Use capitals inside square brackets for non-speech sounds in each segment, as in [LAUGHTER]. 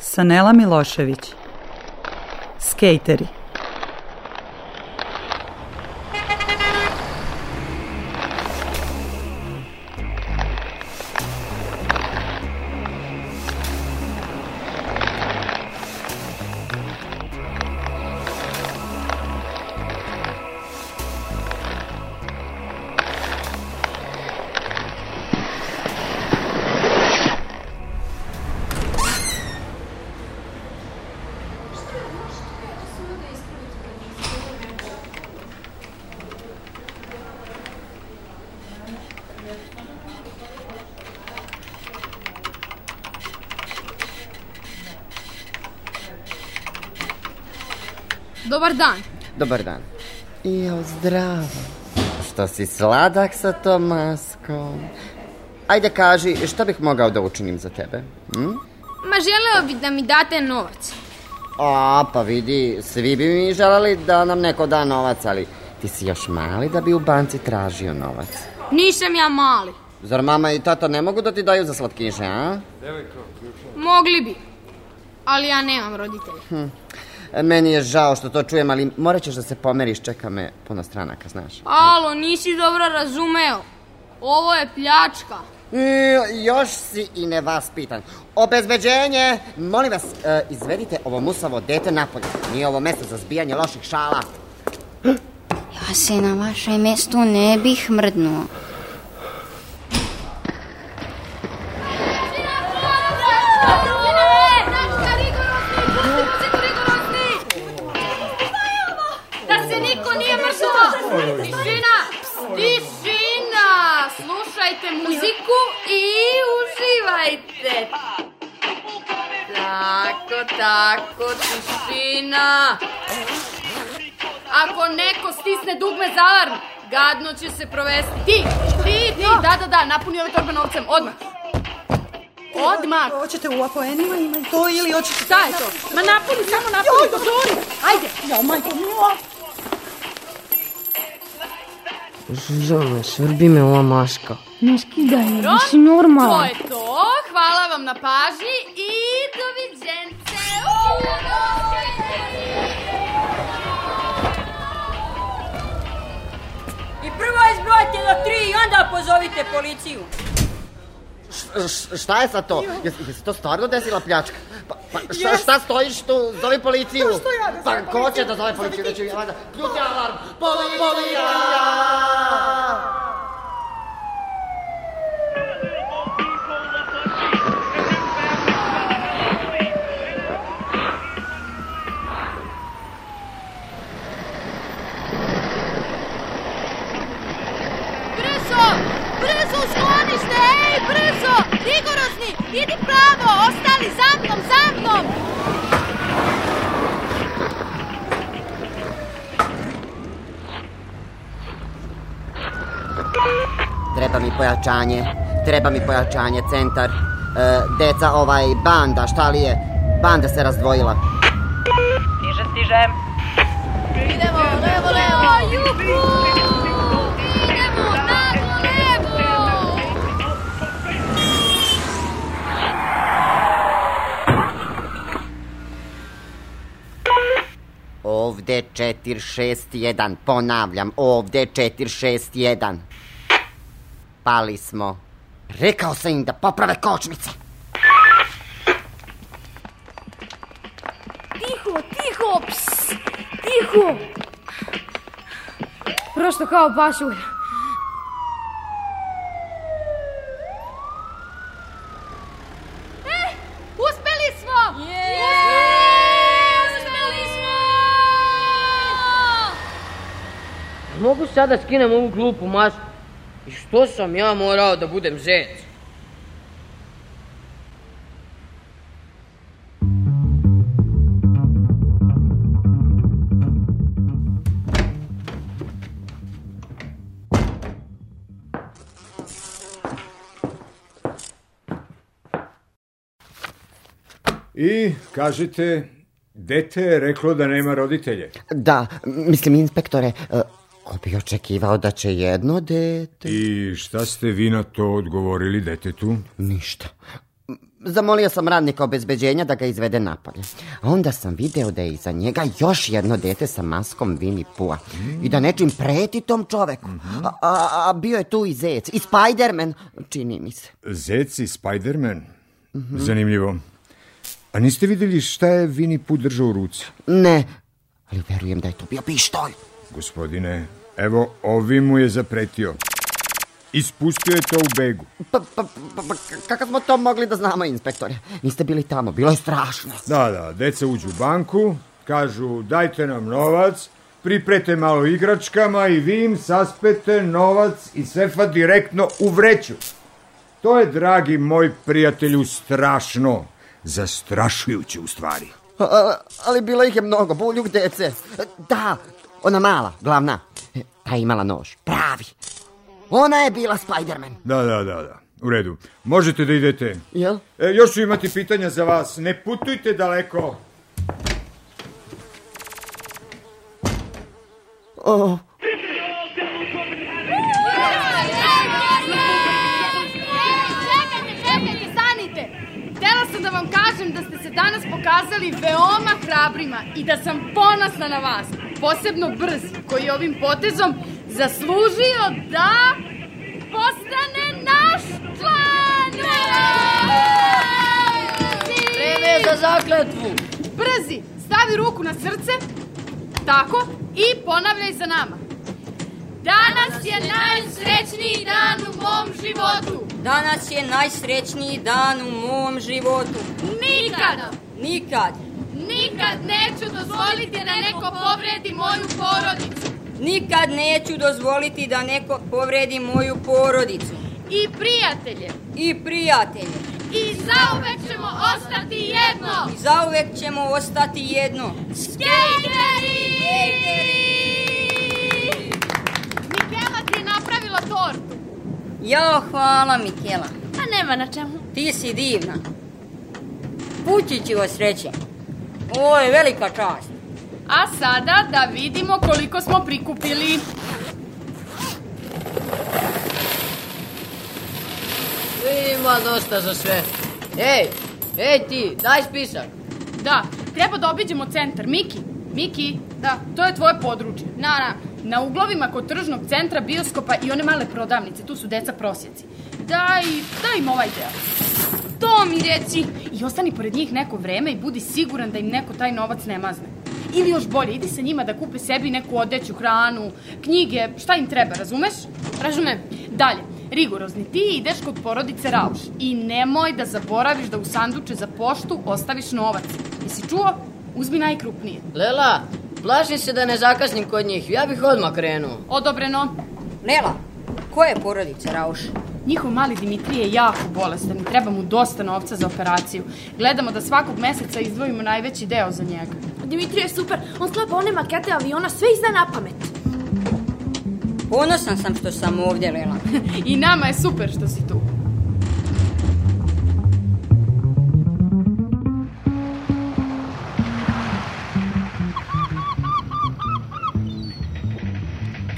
Sanela Milošević Skateri Dobar dan. Dobar dan. Jo, zdravo. Što si sladak sa tom maskom? Ajde kaži, šta bih mogao da učinim za tebe? Hm? Ma želeo bi da mi date novac. A, pa vidi, svi bi mi želeli da nam neko da novac, ali ti si još mali da bi u banci tražio novac. Nisam ja mali. Zar mama i tata ne mogu da ti daju za slatkiše, a? Mogli bi. Ali ja nemam roditelja. Meni je žao što to čujem, ali morat ćeš da se pomeriš, čeka me puno stranaka, znaš. Alo, nisi dobro razumeo. Ovo je pljačka. I, još si i nevaspitan. Obezbeđenje! Molim vas, e, izvedite ovo musavo dete napolje. Nije ovo mesto za zbijanje loših šala. Ja se na vašem mestu ne bih mrdnuo. Da se niko nije mrzao! Tišina! Tišina! Slušajte muziku i uživajte! Tako, tako, tišina! Ako neko stisne dugme za alarm, gadno će se provesti. Ti, ti, ti, da, da, da, napuni ove torbe novcem, odmah. Odmah, Hoćete u apoenima ima i to ili hoćete... šta je to? Ma napuni, samo napuni, dozori, ajde. Ja, majko, mila! Žužo, svrbi me ova maška. Ne skidaj, me, Dobro, nisi normalan. To je to, hvala vam na pažnji i doviđence. I prvo izbrojite do tri i onda pozovite policiju. Š- š- šta je sad to? Jes, jesi to stvarno desila pljačka? Pa, pa šta, šta stojiš tu? Zovi policiju! Pa što ja da zovem Pa ko će policiju? da zove policiju? Zovi Da ti. ću ja da... Ključ alarm! Poli- Policija! Brzo, brzo u sklonište, ej, brzo, rigorozni, idi pravo, ostali za mnom, za mnom. Treba mi pojačanje, treba mi pojačanje, centar. E, deca, ovaj, banda, šta li je? Banda se razdvojila. Stiže, stižem. Idemo, levo, levo, juhu, idemo, naglo, levo. Ovde 461, ponavljam, ovde 461. Pali smo. Rekao sam im da poprave kočnice. Tiho, tiho, ps, tiho. Prosto kao pasulj. Eh, Uspeli smo! Uspeli smo! Mogu sada da skinem ovu glupu masku. I što sam ja morao da budem zec? I, kažete, dete je reklo da nema roditelje. Da, mislim, inspektore, e, ko bi očekivao da će jedno dete... I šta ste vi na to odgovorili detetu? Ništa. M- Zamolio sam radnika obezbeđenja da ga izvede napolje. A onda sam video da je iza njega još jedno dete sa maskom Winnie Pua. I da nečim preti tom čoveku. A, a- a bio je tu i zec. I Spiderman, čini mi se. Zec i Spiderman? Zanimljivo. A niste vidjeli šta je Vini Put držao u ruci? Ne, ali verujem da je to bio pištolj. Gospodine, evo ovi mu je zapretio. Ispustio je to u begu. Pa, pa, pa, pa, kako smo to mogli da znamo, inspektore? Niste bili tamo, bilo je strašno. Da, da, deca uđu u banku, kažu dajte nam novac, priprete malo igračkama i vi im saspete novac i sefa direktno u vreću. To je, dragi moj prijatelju, strašno. Zastrašujuće u stvari. A, a, ali bilo ih je mnogo, buljuk dece. Da, ona mala, glavna. E, Ta je imala nož, pravi. Ona je bila Spiderman, Da, da, da, da. U redu. Možete da idete. jel? E, još ću imati pitanja za vas. Ne putujte daleko. O, Čekajte, čekajte, stanite! Htela sam da vam kažem da ste se danas pokazali veoma hrabrima i da sam ponosna na vas, posebno brz, koji je ovim potezom zaslužio da postane naš član! Vreme je za zakletvu. Brzi, stavi ruku na srce, tako, i ponavljaj za nama. Danas je najsrećniji dan u mom životu. Danas je najsrećniji dan u mom životu. Nikada, Nikad, nikad neću dozvoliti da neko povredi moju porodicu. nikad neću dozvoliti da neko povredi moju porodicu. I prijatelje, I prijatelje. i zauvek ćemo ostati jedno. I zauvek ćemo ostati jedno. Skateri! Mikela ti je napravila tortu. Jao, hvala Mikela. A Pa nema na čemu. Ti si divna. Pući ću vas sreće. Ovo je velika čast. A sada da vidimo koliko smo prikupili. Ima dosta za sve. Ej, ej ti, daj spisak. Da, treba da obiđemo centar. Miki, Miki, da, to je tvoje područje. Na, na, na uglovima kod tržnog centra, bioskopa i one male prodavnice, tu su deca prosjeci. Daj, daj im ovaj deo. To mi reci. I ostani pored njih neko vreme i budi siguran da im neko taj novac ne mazne. Ili još bolje, idi sa njima da kupe sebi neku odeću, hranu, knjige, šta im treba, razumeš? Razumem. Dalje, rigorozni, ti ideš kod porodice Rauš i nemoj da zaboraviš da u sanduče za poštu ostaviš novac. Jesi čuo? Uzmi najkrupnije. Lela, plašim se da ne zakasnim kod njih. Ja bih odmah krenuo. Odobreno. Lela, ko je porodica Rauš? Njihov mali Dimitrije je jako bolestan i treba mu dosta novca za operaciju. Gledamo da svakog meseca izdvojimo najveći deo za njega. Pa Dimitrije je super, on sklapa one makete aviona, sve izda na pamet. Ponosan sam što sam ovdje, Lela. [LAUGHS] I nama je super što si tu.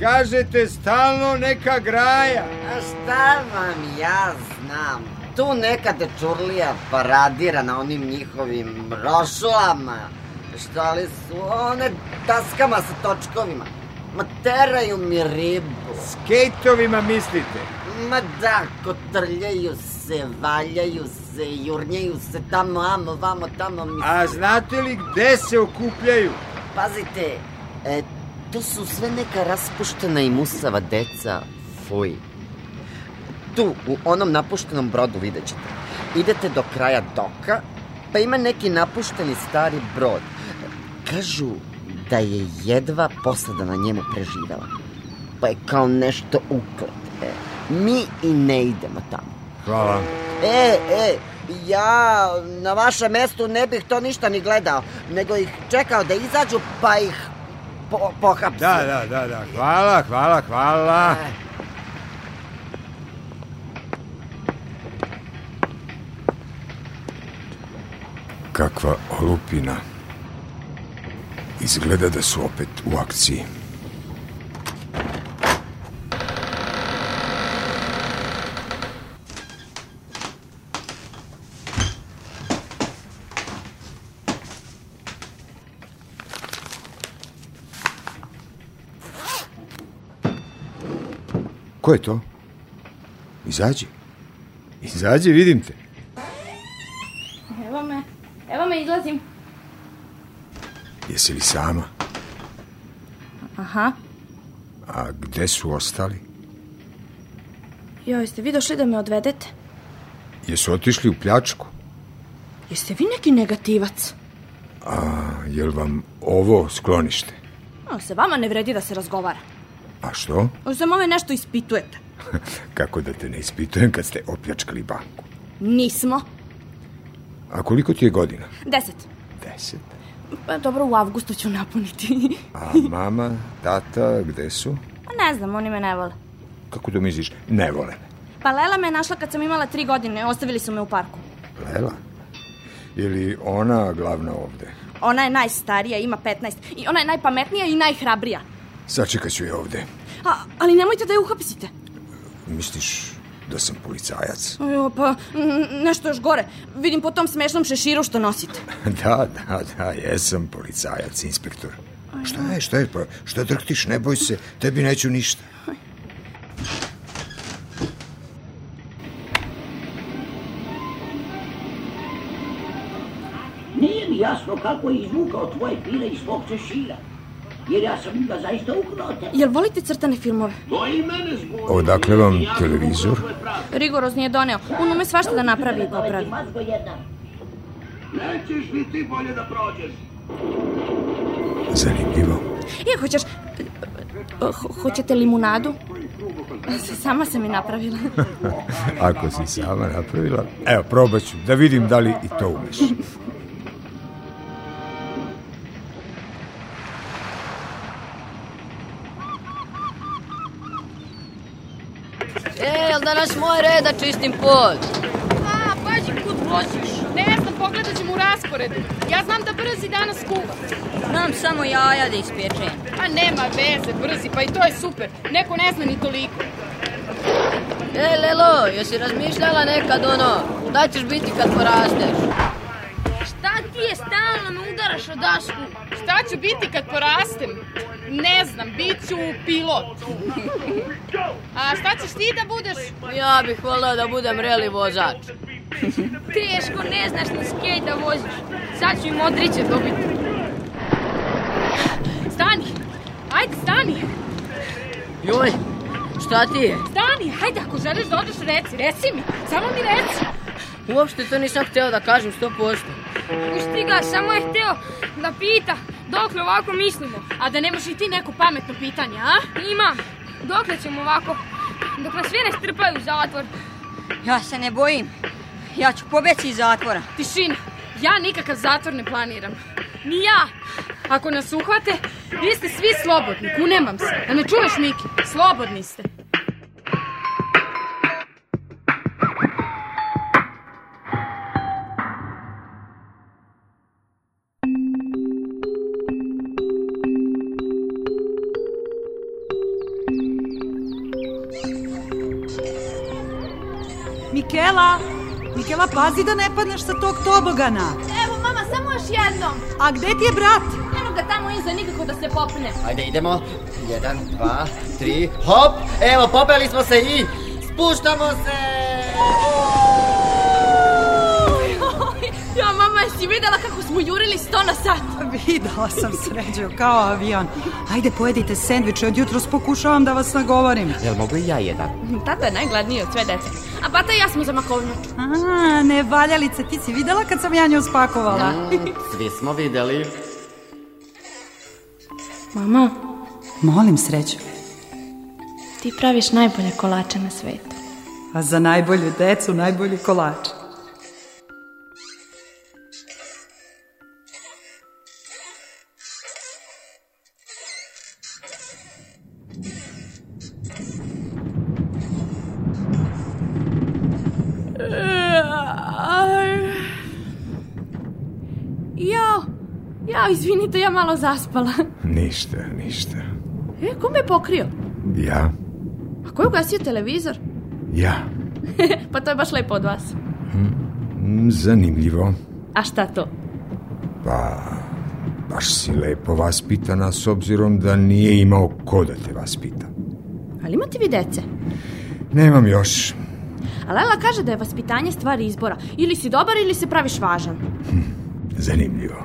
Kažete stalno neka graja. A šta vam ja znam? Tu neka dečurlija paradira na onim njihovim rošlama. Šta li su one taskama sa točkovima? Ma teraju mi ribu. Skejtovima mislite. Ma da, kotrljaju se, valjaju se, jurnjaju se tamo, amo, vamo, tamo. Mi... A znate li gde se okupljaju? Pazite, e, to su sve neka raspuštena i musava deca. Fuj. Tu, u onom napuštenom brodu vidjet ćete. Idete do kraja doka, pa ima neki napušteni stari brod. Kažu da je jedva posada na njemu preživela. Pa je kao nešto uklet. E, mi i ne idemo tamo. Hvala. E, e, ja na vašem mestu ne bih to ništa ni gledao, nego ih čekao da izađu pa ih po, pohapsim. Da, da, da, da. Hvala, hvala, hvala. E. Kakva olupina. Izgleda da su opet u akciji. Ko je to? Izađi. Izađi, vidim te. Evo me, evo me, izlazim. Jesi li sama? Aha. A gde su ostali? Joj, ste vi došli da me odvedete? Jesu otišli u pljačku? Jeste vi neki negativac? A, jel vam ovo sklonište? O, se vama ne vredi da se razgovara. A što? O, za move nešto ispitujete. [LAUGHS] Kako da te ne ispitujem kad ste opljačkali banku? Nismo. A koliko ti je godina? Deset. Deset. Pa dobro, u avgustu ću [LAUGHS] napuniti. A mama, tata, gde su? Pa ne znam, oni me ne vole. Kako to misliš? Ne vole me. Pa Lela me je našla kad sam imala tri godine, ostavili su me u parku. Lela? Ili ona glavna ovde? Ona je najstarija, ima 15. I ona je najpametnija i najhrabrija. Sačekat ću je ovde. A, ali nemojte da je uhapsite. Misliš da sam policajac? [LAUGHS] Jo, pa, mm, nešto još gore. Vidim po tom smešnom šeširu što nosite. da, da, da, jesam policajac, inspektor. Šta je, šta je, pa šta drhtiš, ne boj se, tebi neću ništa. Nije mi jasno kako je izvukao tvoje pile iz svog češira. Jer ja sam ga zaista ukrao te. Jel volite crtane filmove? To i mene zbog. Odakle vam televizor? Rigorozno je doneo. On ume svašta da napravi i popravi. Nećeš li ti bolje da prođeš? Zanimljivo. Je, E, hoćeš... eh, ho- hoćete limunadu? Sama sam je napravila. Ako si sama napravila, evo, probat ću, da vidim da li i to umeš. E, jel danas moj red da čistim pod? A, pađi kud voziš. Ne znam, pogledat ćemo u rasporedu. Ja znam da brzi danas kuva. Znam samo jaja da ispječem. Pa nema veze, brzi, pa i to je super. Neko ne zna ni toliko. E, Lelo, jesi razmišljala nekad ono, da ćeš biti kad porasteš? Šta ti je stalno me udaraš o dasku? Šta ću biti kad porastem? Ne znam, bit ću pilot. A šta ćeš ti da budeš? Ja bih volio da budem reli vozač. Teško, ne znaš ni skej da voziš. Sad ću im odriće dobiti. Stani! Ajde, stani! Joj, šta ti je? Stani, hajde, ako želiš da odeš, reci, reci mi, samo mi reci. Uopšte to nisam hteo da kažem 100%. Pusti ga, samo je hteo da pita dokle ovako mislimo. A da nemaš i ti neko pametno pitanje, a? Imam, dokle ćemo ovako, dok nas sve ne strpaju u zatvor. Ja se ne bojim. Ja ću pobeći iz zatvora. Tišina, ja nikakav zatvor ne planiram. Ni ja. Ako nas uhvate, vi ste svi slobodni, kunemam se. Da me čuješ, Miki? Slobodni ste. Mikela! Mikela, pazi da ne padneš sa tog tobogana. Evo, mama, samo još jednom. A gde ti je brat? Eno ga tamo iza, nikako da se popne. Ajde, idemo. Jedan, dva, tri, hop! Evo, popeli smo se i spuštamo se! Ja, mama, jesi videla kako smo jurili sto na sat? Videla sam sređo kao avion. Ajde, pojedite sendviče, od jutros pokušavam da vas nagovorim. Jel mogu i ja jedan? Tata je najgladniji od sve dece. A bata i ja smo za makovnjač. A, ne valjalice, ti si videla kad sam ja nju spakovala. Svi smo videli. Mama, Molim sreću. ti praviš najbolje kolače na svetu. A za najbolju decu najbolji kolač. Jao, jao, izvinite, ja malo zaspala. Ništa, ništa. E, ko me je pokrio? Ja? A ko je ugasio televizor? Ja. pa to je baš lepo od vas. Mm, Zanimljivo. A šta to? Pa, baš si lepo vaspitana s obzirom da nije imao ko da te vaspita. Ali imate vi dece? Nemam još. A Lela kaže da je vaspitanje stvar izbora. Ili si dobar ili se praviš važan. Zanimljivo.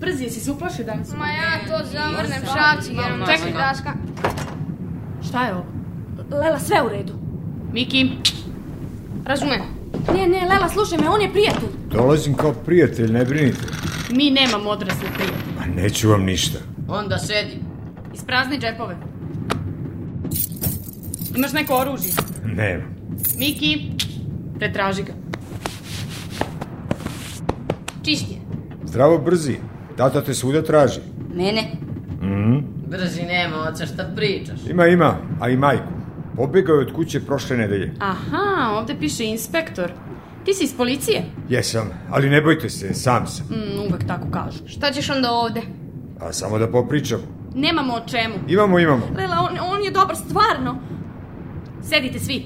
Brzi, jesi se uplašio danas? Ma ja to zamrnem šavčigerom. Čekaj, Daška. Šta je ovo? Lela, sve u redu. Miki, razumem. Ne, ne, Lela, slušaj me, on je prijatelj. Dolazim kao prijatelj, ne brinite. Mi nemamo odrasle prijatelje. Ma Pa neću vam ništa. Onda sedi. Isprazni džepove. Imaš neko oružje? Nemam. Miki, pretraži ga. Čist je. Zdravo brzi. Tata te svuda traži. Mene? Mhm. Brzi nema, oca, šta pričaš? Ima, ima, a i majku. Pobegao je od kuće prošle nedelje. Aha, ovdje piše inspektor. Ti si iz policije? Jesam, ali ne bojte se, sam sam. Mm, uvek tako kažu. Šta ćeš onda ovde? A samo da popričam. Nemamo o čemu. Imamo, imamo. Lela, on, on je dobar, stvarno. Sedite svi.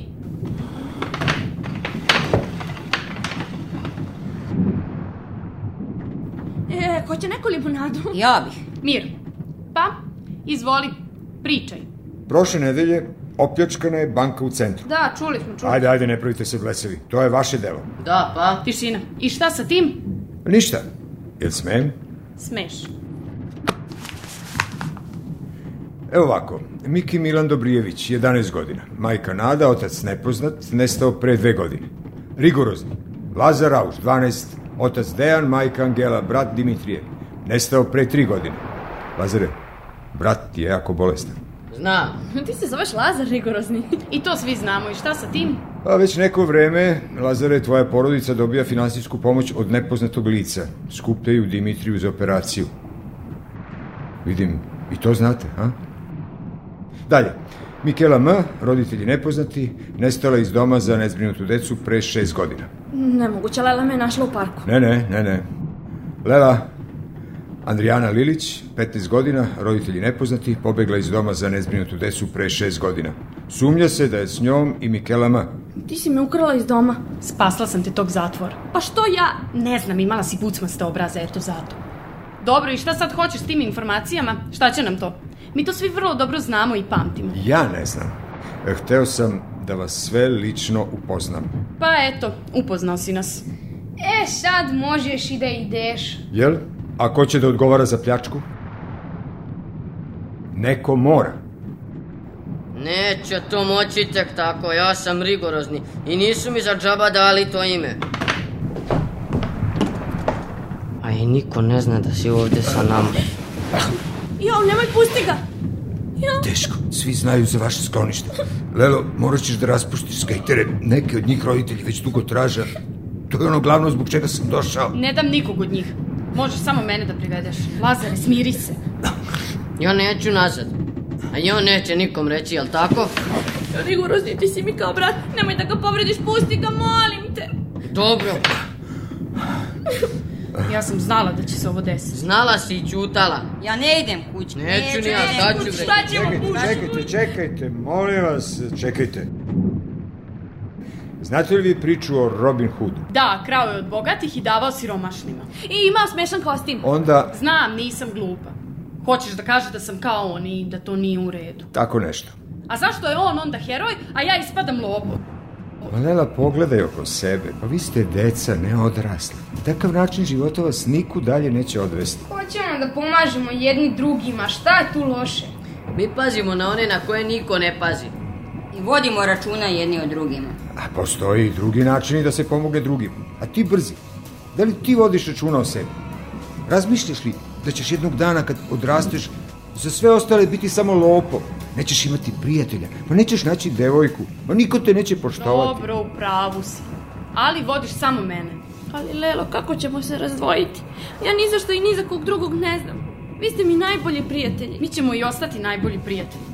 E, hoće neko limunadu? Ja bih. Mir, pa, izvoli, pričaj. Prošle nedelje opljačkana je banka u centru. Da, čuli smo, čuli. Ajde, ajde, ne pravite se blesevi. To je vaše delo. Da, pa. Tišina. I šta sa tim? Ništa. Jel smem? Smeš. [LAUGHS] Evo ovako, Miki Milan Dobrijević, 11 godina. Majka Nada, otac nepoznat, nestao pre dve godine. Rigorozni. Lazar Rauš, 12, otac Dejan, majka Angela, brat Dimitrije. Nestao pre tri godine. Lazare, brat ti je jako bolestan. Znam. Ti se zoveš Lazar rigorozni. I to svi znamo. I šta sa tim? A Pa već neko vreme, Lazare, tvoja porodica dobija finansijsku pomoć od nepoznatog lica. Skupljaju Dimitriju za operaciju. Vidim, i to znate, a? Dalje, Mikela M., roditelji nepoznati, nestala iz doma za nezbrinutu decu pre šest godina. Nemoguće, Lela me je našla u parku. Ne, ne, ne, ne. Lela, Andrijana Lilić, 15 godina, roditelji nepoznati, pobegla iz doma za nezbrinutu decu pre šest godina. Sumnja se da je s njom i Mikela M. Ti si me ukrala iz doma. Spasla sam te tog zatvora. Pa što ja? Ne znam, imala si bucmaste obraze, eto zato. Dobro, i šta sad hoćeš s tim informacijama? Šta će nam to? Mi to svi vrlo dobro znamo i pamtimo. Ja ne znam. E, Hteo sam da vas sve lično upoznam. Pa eto, upoznao si nas. E, sad možeš i da ideš. Jel? A ko će da odgovara za pljačku? Neko mora. Neće to moći tek tako, ja sam rigorozni i nisu mi za džaba dali to ime. A i niko ne zna da si ovdje sa nama. Jo, nemoj, pusti ga! Teško, svi znaju za vaše sklonište. Lelo, morat ćeš da raspuštiš skajtere. Neki od njih roditelji već dugo traže. To je ono glavno zbog čega sam došao. Ne dam nikog od njih. Možeš samo mene da privedeš. Lazare, smiri se. Ja neću nazad. A i on neće nikom reći, jel tako? Rigorozni, ti si mi kao brat. Nemoj da ga povrediš, pusti ga, molim te! Dobro, Ja sam znala da će se ovo desiti. znala si i čutala. Ja ne idem kući. Neću ni ja, sad ću bre. čekajte, čekajte, molim vas, čekajte. Znate li vi priču o Robin Hoodu? Da, krao je od bogatih i davao siromašnima. I imao smešan kostim. Onda Znam, nisam glupa. Hoćeš da kažeš da sam kao on i da to nije u redu. tako nešto. A zašto je on onda heroj, a ja ispadam lopov? Ma, Lela, pogledaj oko sebe. Pa vi ste deca, ne odrasli. Takav način života vas niku dalje neće odvesti. Hoćemo da pomažemo jedni drugima, šta je tu loše? Mi pazimo na one na koje niko ne pazi. I vodimo računa jedni o drugima. A postoji i drugi načini da se pomogne drugim. A ti brzi. Da li ti vodiš računa o sebi? Razmišljaš li da ćeš jednog dana kad odrasteš za sve ostale biti samo lopo? Nećeš imati prijatelja, pa nećeš naći devojku, pa niko te neće poštovati. Dobro, u pravu si. Ali vodiš samo mene. Ali Lelo, kako ćemo se razdvojiti? Ja ni za što i ni za kog drugog ne znam. Vi ste mi najbolji prijatelji. Mi ćemo i ostati najbolji prijatelji.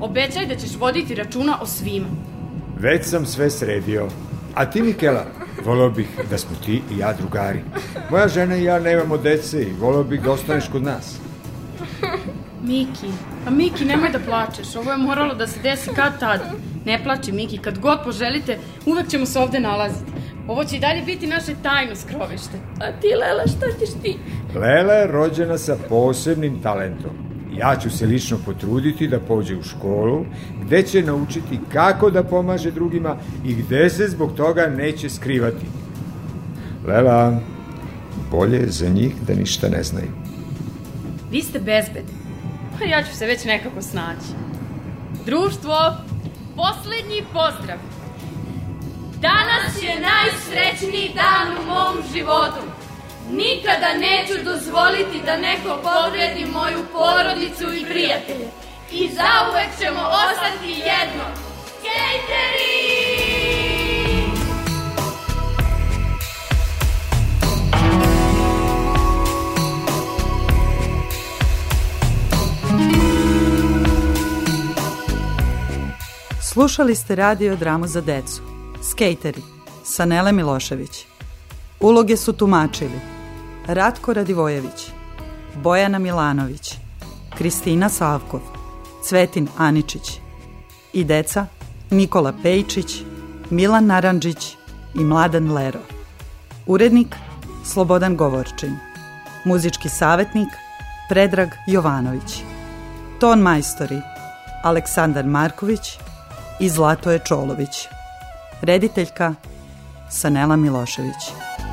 Obećaj da ćeš voditi računa o svima. Već sam sve sredio. A ti, Mikela, volio bih da smo ti i ja drugari. Moja žena i ja nemamo dece i volio bih da ostaneš kod nas. Miki, pa Miki nemoj da plačeš, ovo je moralo da se desi kad tad. Ne plači Miki, kad god poželite, uvek ćemo se ovdje nalaziti. Ovo će i dalje biti naše tajno skrovište. A ti, Lela, šta ćeš ti? Lela je rođena sa posebnim talentom. Ja ću se lično potruditi da pođe u školu, gde će naučiti kako da pomaže drugima i gde se zbog toga neće skrivati. Lela, bolje je za njih da ništa ne znaju. Vi ste bezbedni. Pa ja ću se već nekako snaći. Društvo, posljednji pozdrav. Danas je najsrećniji dan u mom životu. Nikada neću dozvoliti da neko povredi moju porodicu i prijatelje. I zauvek ćemo ostati jedno. Skateri! Slušali ste radio dramu za decu. Skateri sa Nele Milošević. Uloge su tumačili Ratko Radivojević, Bojana Milanović, Kristina Savkov, Cvetin Aničić i deca Nikola Pejčić, Milan Naranđić i Mladen Lero. Urednik Slobodan Govorčin. Muzički savjetnik Predrag Jovanović. Ton majstori Aleksandar Marković i Zlatoje Čolović. Rediteljka Sanela Milošević.